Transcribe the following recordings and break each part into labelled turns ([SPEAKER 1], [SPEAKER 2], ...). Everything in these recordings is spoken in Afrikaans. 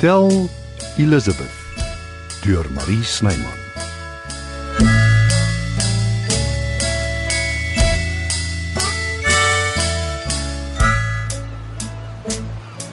[SPEAKER 1] Tel Elizabeth deur Marie Snyman.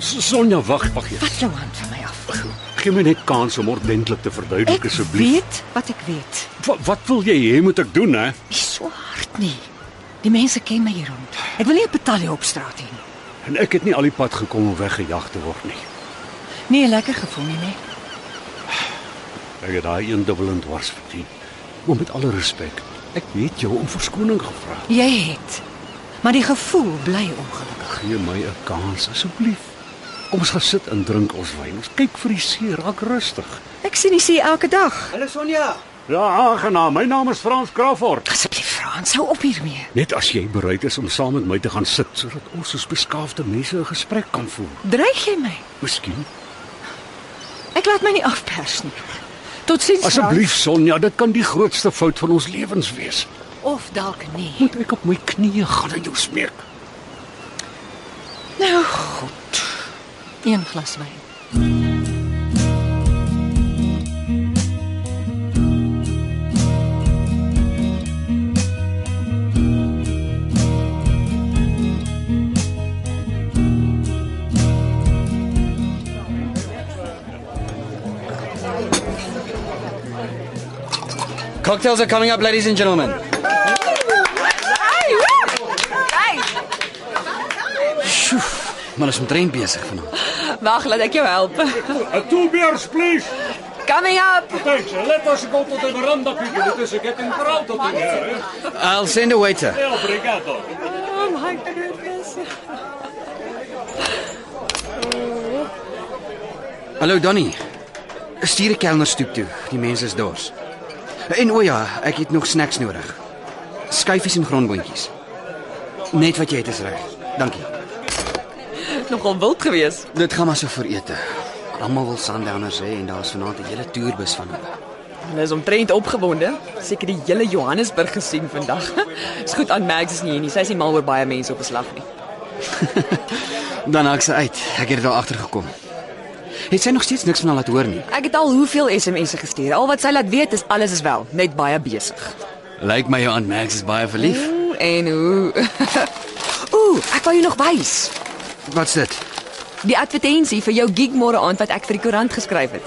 [SPEAKER 2] Sonja, wag, ag ja.
[SPEAKER 3] Vat jou hand nou van my af.
[SPEAKER 2] Gee my net kans om ordentlik te verduidelik
[SPEAKER 3] Ek
[SPEAKER 2] asseblief.
[SPEAKER 3] weet wat ek weet.
[SPEAKER 2] Wat, wat wil jy hê moet ek doen, hè?
[SPEAKER 3] Nie so hard nie. Die mense ken my hier rond. Ek wil nie 'n betalje op straat hê nie.
[SPEAKER 2] En ek het nie al die pad gekom om weggejaag te word nie.
[SPEAKER 3] Nee, lekker gevoel nie, nee.
[SPEAKER 2] Ek het daai een dubbelend wars verdien. Maar met alle respek, ek weet jou om verskoning gevra.
[SPEAKER 3] Jy het. Maar die gevoel bly ongelukkig.
[SPEAKER 2] Gee my 'n kans asseblief. Kom ons gaan sit en drink ons wyn. Ons kyk vir die see, raak rustig.
[SPEAKER 3] Ek sien nie sien elke dag.
[SPEAKER 4] Hallo Sonja.
[SPEAKER 2] Ja, aangenaam. My naam is Frans Crawford.
[SPEAKER 3] Asseblief Frans, hou op hiermee.
[SPEAKER 2] Net as jy bereid is om saam met my te gaan sit sodat ons soos beskaafde mense 'n gesprek kan voer.
[SPEAKER 3] Dreig jy my?
[SPEAKER 2] Miskien
[SPEAKER 4] Ja.
[SPEAKER 3] Ek laat my nie afpers nie. Totsiens.
[SPEAKER 2] Asseblief Sonja, dit kan die grootste fout van ons lewens wees.
[SPEAKER 3] Frans. Of dalk nie.
[SPEAKER 2] Moet ek op my knieë gaan en jou smeek?
[SPEAKER 3] Nou goed. Een glas wyn.
[SPEAKER 4] Cocktails are coming up ladies and gentlemen. Sjoe, maar ons is omtrent besig vanaand.
[SPEAKER 5] Wag, laat ek jou help.
[SPEAKER 2] A two beers please.
[SPEAKER 5] Coming up.
[SPEAKER 2] Thanks. Let us go tot 'n veranda people. Dit is ek het in verhaal tot hier.
[SPEAKER 4] I'll send a waiter.
[SPEAKER 2] Ja, obrigado.
[SPEAKER 5] Oh my goodness.
[SPEAKER 4] Hallo Donny. Stuur die kelner stoep toe. Die mense is dors. En o ja, ek het nog snacks nodig. Skyfies en grondboontjies. Net wat jy het is reg. Dankie.
[SPEAKER 5] Nogal wild gewees.
[SPEAKER 4] Dit gaan maar so vir ete. Almal wil Sundowners hê en daar's vanaand 'n hele toerbus van hulle.
[SPEAKER 5] Hulle is omtrent opgewonde. Seker die hele Johannesburg gesien vandag. Is goed aan Max is nie hier nie. Sy is nie mal oor baie mense op 'n slag nie.
[SPEAKER 4] Dan haak sy uit. Ek het dit al agtergekom. Het sy nog steeds niks van haar laat hoor nie.
[SPEAKER 5] Ek het al hoeveel SMS'e gestuur. Al wat sy laat weet is alles is wel, net baie besig.
[SPEAKER 4] Lyk my jou aan Max is baie verlief.
[SPEAKER 5] Oeh, En hoe? Ooh, ek wou jou nog wys.
[SPEAKER 4] Wat's dit?
[SPEAKER 5] Die advertensie vir jou gig môre aand wat ek vir die koerant geskryf het.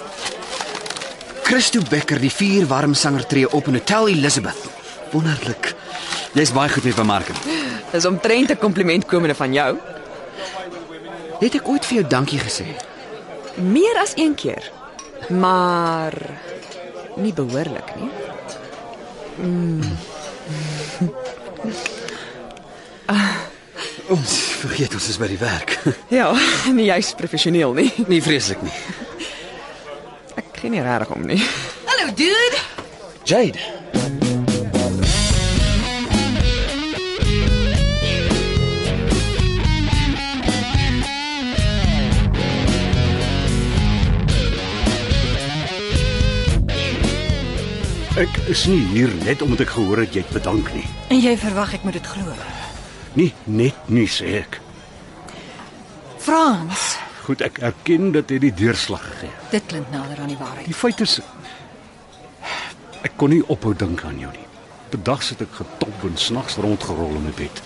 [SPEAKER 4] Christo Becker, die vier warm sanger tree op in Hotel Elizabeth. Wonderlik. Jy's baie goed met bemarking.
[SPEAKER 5] Dis omtrent 'n kompliment komende van jou.
[SPEAKER 4] Het ek ooit vir jou dankie gesê?
[SPEAKER 5] Meer as een keer. Maar nie behoorlik nie.
[SPEAKER 4] Ons vergeet ons is by die werk.
[SPEAKER 5] Ja, nie juist professioneel nie.
[SPEAKER 4] nie Nee, vreeslik nie.
[SPEAKER 5] Ek gee nie regtig om nie.
[SPEAKER 3] Hallo dude.
[SPEAKER 4] Jade.
[SPEAKER 2] Ek is nie hier net omdat ek gehoor het jy het bedank nie.
[SPEAKER 3] En jy verwag ek moet dit glo.
[SPEAKER 2] Nie net nie sê ek.
[SPEAKER 3] Frans,
[SPEAKER 2] Goed, ek erken dat jy die deurslag gegee het.
[SPEAKER 3] dit klink nader aan die waarheid.
[SPEAKER 2] Die feit is ek kon nie ophou dink aan jou nie. Bedag sit ek getop en snags rondgerol in my bed.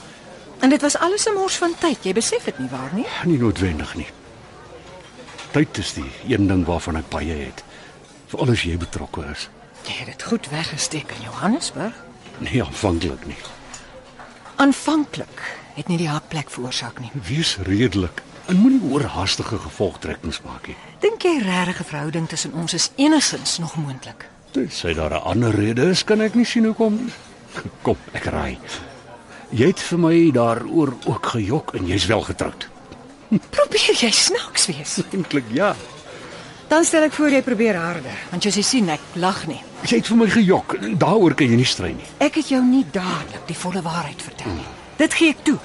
[SPEAKER 3] En dit was alles 'n mors van tyd. Jy besef dit nie waar nie?
[SPEAKER 2] Nie noodwendig nie. Tyd is die een ding waarvan ek baie het. Veral as jy betrokke is.
[SPEAKER 3] Jy het dit goed weggesteek in Johannesburg.
[SPEAKER 2] Nee, aanvanklik nie.
[SPEAKER 3] Aanvanklik het nie die haakplek veroorsaak nie.
[SPEAKER 2] Wees redelik en moenie oorhaastige gevolgtrekkings maak nie.
[SPEAKER 3] Dink jy regtig 'n verhouding tussen ons is enigstens nog moontlik?
[SPEAKER 2] Tensy daar 'n ander rede is, kan ek nie sien hoekom nie. Kom, ek raai. Jy het vir my daaroor ook gejok en jy's wel getroud.
[SPEAKER 3] Probeer jy snaaks wees?
[SPEAKER 2] Eintlik ja.
[SPEAKER 3] Dan stel ek voor jy probeer harder, want jy sien ek lag nie.
[SPEAKER 2] Jy het vir my gejok. en Daaroor kan jy nie strei nie.
[SPEAKER 3] Ek het jou nie dadelik die volle waarheid vertel nie. Dit gee ek toe.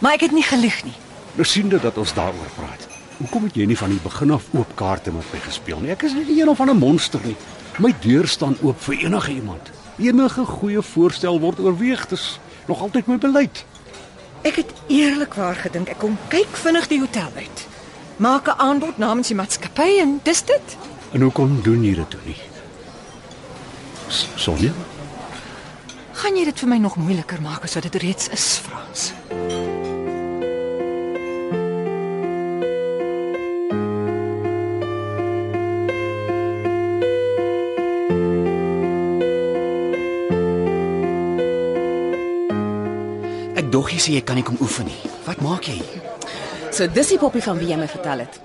[SPEAKER 3] Maar ek het nie gelieg nie.
[SPEAKER 2] Nou sien dit dat ons daaroor praat. Hoekom het jy nie van die begin af oop kaarte met my gespeel nie? Ek is nie een of ander monster nie. My deur staan oop vir enige iemand. Enige goeie voorstel word oorweeg. Dis nog altyd my beleid.
[SPEAKER 3] Ek het eerlikwaar gedink ek kom kyk vinnig die hotel uit. Maak 'n aanbod namens die maatskappy en dis dit.
[SPEAKER 2] En hoekom doen jy dit toe nie? S- Sonja,
[SPEAKER 3] Gaan jy dit vir my nog moeiliker maak as wat dit reeds is, Frans?
[SPEAKER 4] Ek dog jy sê jy kan nie kom oefen nie. Wat maak jy?
[SPEAKER 6] So dis die poppie van wie jy my vertel het.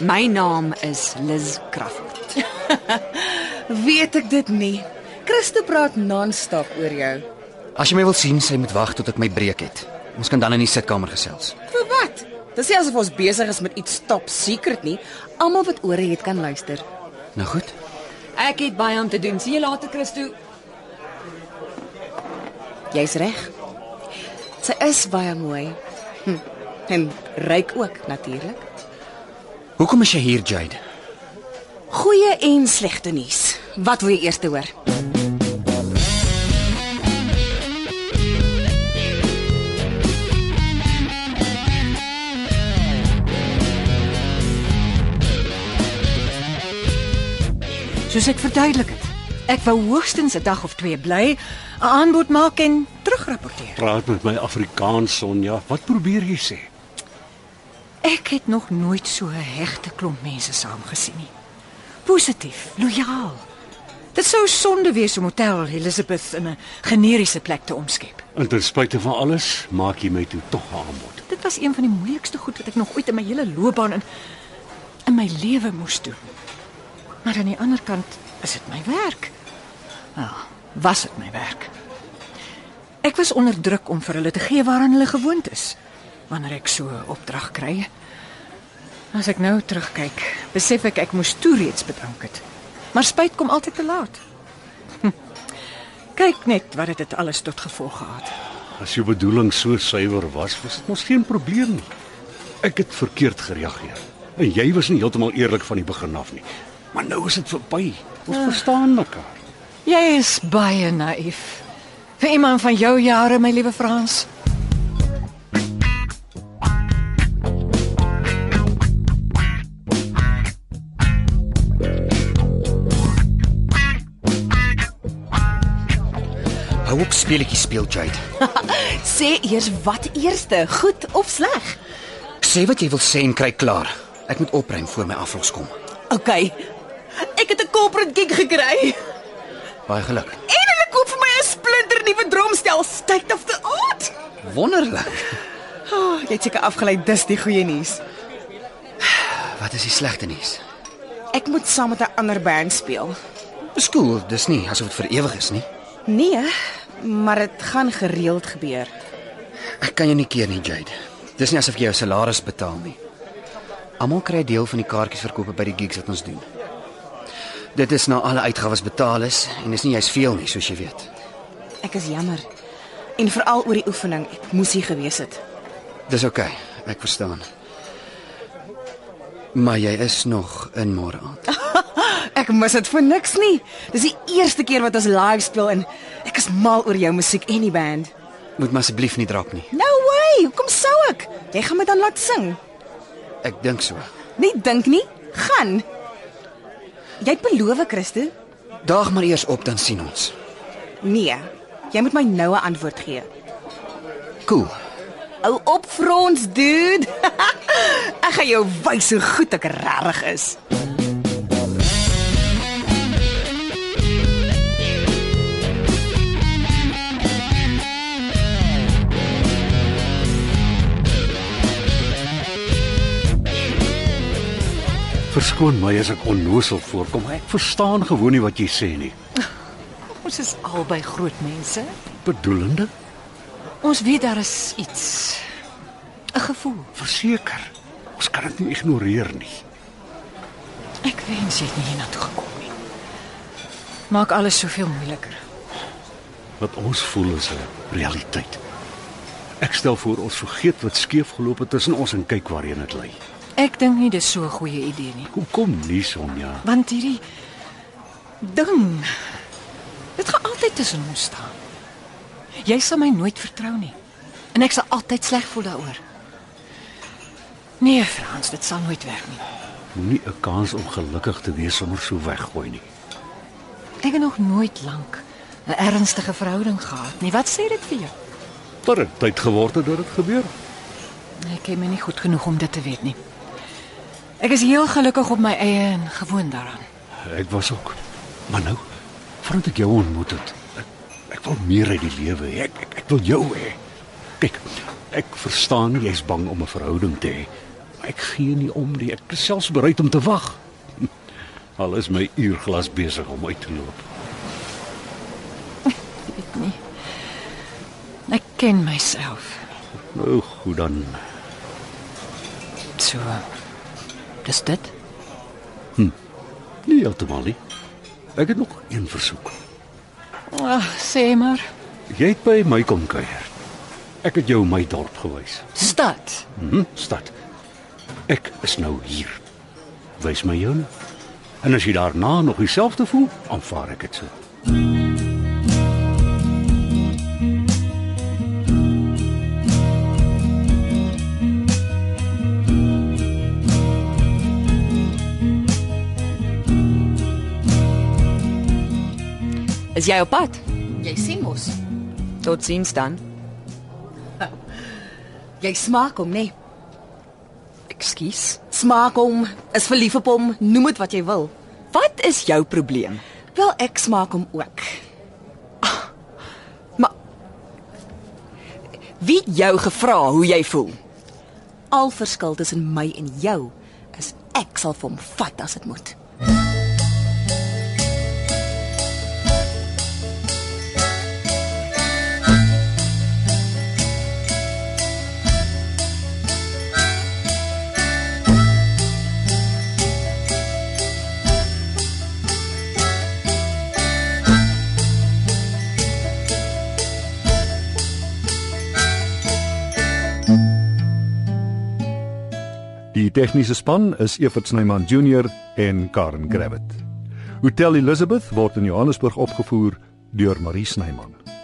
[SPEAKER 6] my naam is Liz Crawford.
[SPEAKER 7] Weet ek dit nie. Christo praat non-stop oor jou.
[SPEAKER 4] As jy my wil sien, sy moet wag tot ek my breek het. Ons kan dan in die sitkamer gesels.
[SPEAKER 7] Vir wat? Dis nie asof ons besig is met iets top secret nie. Almal wat ore het kan luister.
[SPEAKER 4] Nou goed.
[SPEAKER 6] Ek het baie om te doen. Sien jou later, Christo.
[SPEAKER 7] Jy's reg. Sy is baie mooi. Hm. En ryk ook natuurlik.
[SPEAKER 4] Hoekom is jy hier, Jade?
[SPEAKER 7] Goeie en slegte nuus. Wat wil jy eers hoor?
[SPEAKER 3] Soos ek verduidelik het. Ek wou hoogstens 'n dag of twee bly, 'n aanbod maak en terugrapporteer.
[SPEAKER 2] praat met my Afrikaans, Sonja. Wat probeer jy sê?
[SPEAKER 3] Ek het nog nooit so 'n hegte klomp mense saamgesien nie. Positief, lojaal. Dit sou sonde wees om Hotel Elizabeth in 'n generiese plek te omskep.
[SPEAKER 2] En ten spyte van alles, maak jy my toe tog 'n aanbod.
[SPEAKER 3] Dit was een van die moeilikste goed wat ek nog ooit in my hele loopbaan in in my lewe moes doen. Maar aan die ander kant is dit my werk. Ja, was dit my werk. Ek was onder druk om vir hulle te gee waaraan hulle gewoond is wanneer ek so 'n opdrag kry. As ek nou terugkyk, besef ek ek moes toe reeds bedank het. Maar spyt kom altyd te laat. Hm. Kyk net wat dit, dit alles tot gevolg gehad het.
[SPEAKER 2] As jou bedoeling so suiwer was, was dit mos geen probleem nie. Ek het verkeerd gereageer. En jy was nie heeltemal eerlik van die begin af nie. Maar nou is dit verby. Ons verstaan mekaar.
[SPEAKER 3] Jy is baie naïef. Vir iemand van jou jare, my liewe Frans.
[SPEAKER 4] Hou op speletjies speel, Jade.
[SPEAKER 7] Sê eers wat eerste, goed of sleg?
[SPEAKER 4] Sê wat jy wil sê en kry klaar. Ek moet opruim voor my aflos kom.
[SPEAKER 7] OK. Ek het 'n corporate gig gekry.
[SPEAKER 4] Baie geluk.
[SPEAKER 7] En hulle koop vir my 'n splinter nuwe drumstel, state of the art.
[SPEAKER 4] Wonderlik.
[SPEAKER 7] Oh, jy het seker afgelei dis die goeie nuus.
[SPEAKER 4] Wat is die slegte nuus?
[SPEAKER 7] Ek moet saam met 'n ander band speel.
[SPEAKER 4] Dis cool, dis nie asof dit vir ewig is nie.
[SPEAKER 7] Nee, maar dit gaan gereeld gebeur.
[SPEAKER 4] Ek kan jou nie keer nie, Jade. Dis nie asof jy jou salaris betaal nie. Almal kry 'n deel van die kaartjiesverkope by die gigs wat ons doen. Dit is na alle uitgawes betaal is en dis nie jy's veel nie, soos jy weet.
[SPEAKER 7] Ek is jammer. En veral oor die oefening. Ek moes hier gewees het.
[SPEAKER 4] Dis oukei, okay, ek verstaan. Maar jy is nog in môre aand.
[SPEAKER 7] Ek mis dit vir niks nie. Dis die eerste keer wat ons live speel en ek is mal oor jou musiek en die band.
[SPEAKER 4] Moet maar asseblief nie drap nie.
[SPEAKER 7] No way. Hoekom sou ek? Jy gaan my dan laat sing.
[SPEAKER 4] Ek dink so.
[SPEAKER 7] Nie dink nie, gaan. Jy het beloof, Christo?
[SPEAKER 4] Daag maar eers op dan sien ons.
[SPEAKER 7] Nee. Jy moet my nou 'n antwoord gee.
[SPEAKER 4] Cool.
[SPEAKER 7] Hou op, Frans, dude. ek gaan jou wys hoe goed ek regtig is.
[SPEAKER 2] Verskoon my as ek onnosel voorkom. maar Ek verstaan gewoon nie wat jy sê nie.
[SPEAKER 3] Ons is albei groot mense.
[SPEAKER 2] Bedoelende?
[SPEAKER 3] Ons weet daar is iets. 'n Gevoel.
[SPEAKER 2] Verseker. Ons kan dit nie ignoreer nie.
[SPEAKER 3] Ek wens jy het nie hiernatoe gekom nie. Maak alles soveel moeiliker.
[SPEAKER 2] Wat ons voel is 'n realiteit. Ek stel voor ons vergeet wat skeef geloop het tussen ons en kyk waarheen dit lei.
[SPEAKER 3] Ek dink nie dis so 'n goeie idee nie,
[SPEAKER 2] Hoekom nie, Sonja?
[SPEAKER 3] want hierdie ding dit gaan altyd tussen ons staan. Jy sal my nooit vertrou nie en ek sal altyd sleg voel daaroor. Nee, Frans, dit sal nooit werk nie.
[SPEAKER 2] Moenie 'n kans om gelukkig te wees sommer so weggooi nie.
[SPEAKER 3] Ek het nog nooit lank 'n ernstige verhouding gehad nie. Wat sê dit vir jou?
[SPEAKER 2] Dat het tyd geword het dat dit gebeur.
[SPEAKER 3] Ek ken my nie goed genoeg om dit te weet nie. Ek is heel gelukkig op my eie en gewoond daaraan.
[SPEAKER 2] Ek was ook. Maar nou, voordat ek jou ontmoet het, ek, ek wil meer uit die lewe hê. Ek, ek ek wil jou hê. Kyk, ek verstaan jy's bang om 'n verhouding te hê. Maar ek gee nie om nie. Ek is selfs bereid om te wag. Al is my uurglas besig om uit te loop.
[SPEAKER 3] Ek weet nie. Ek ken myself.
[SPEAKER 2] Nou goed dan.
[SPEAKER 3] So. Dis dit.
[SPEAKER 2] Nee, heeltemal nie. Ek het nog een versoek.
[SPEAKER 3] Ag, sê maar.
[SPEAKER 2] Jy het by my kom kuier. Ek het jou my dorp gewys.
[SPEAKER 3] Stad.
[SPEAKER 2] Mhm, stad. Ek is nou hier. Wys my joune. En as jy daarna nog dieselfde voel, aanvaar eh. ek dit so.
[SPEAKER 5] Is jy op pad?
[SPEAKER 6] Jy sien mos,
[SPEAKER 5] Totsiens dan.
[SPEAKER 6] jy smaak hom, nê? Nee.
[SPEAKER 5] Ekskuus.
[SPEAKER 7] Smaak hom, is verlief op hom, noem dit wat jy wil.
[SPEAKER 5] Wat is jou probleem?
[SPEAKER 7] Wel ek smaak hom ook. Ah,
[SPEAKER 5] Wie het jou gevra hoe jy voel?
[SPEAKER 7] Al verskil tussen my en jou is ek sal vir hom vat as dit moet.
[SPEAKER 1] Die tegniese span is Evert Snyman Junior en Karen Gravett. Hotel Elizabeth word in Johannesburg opgevoer deur Marie Snyman.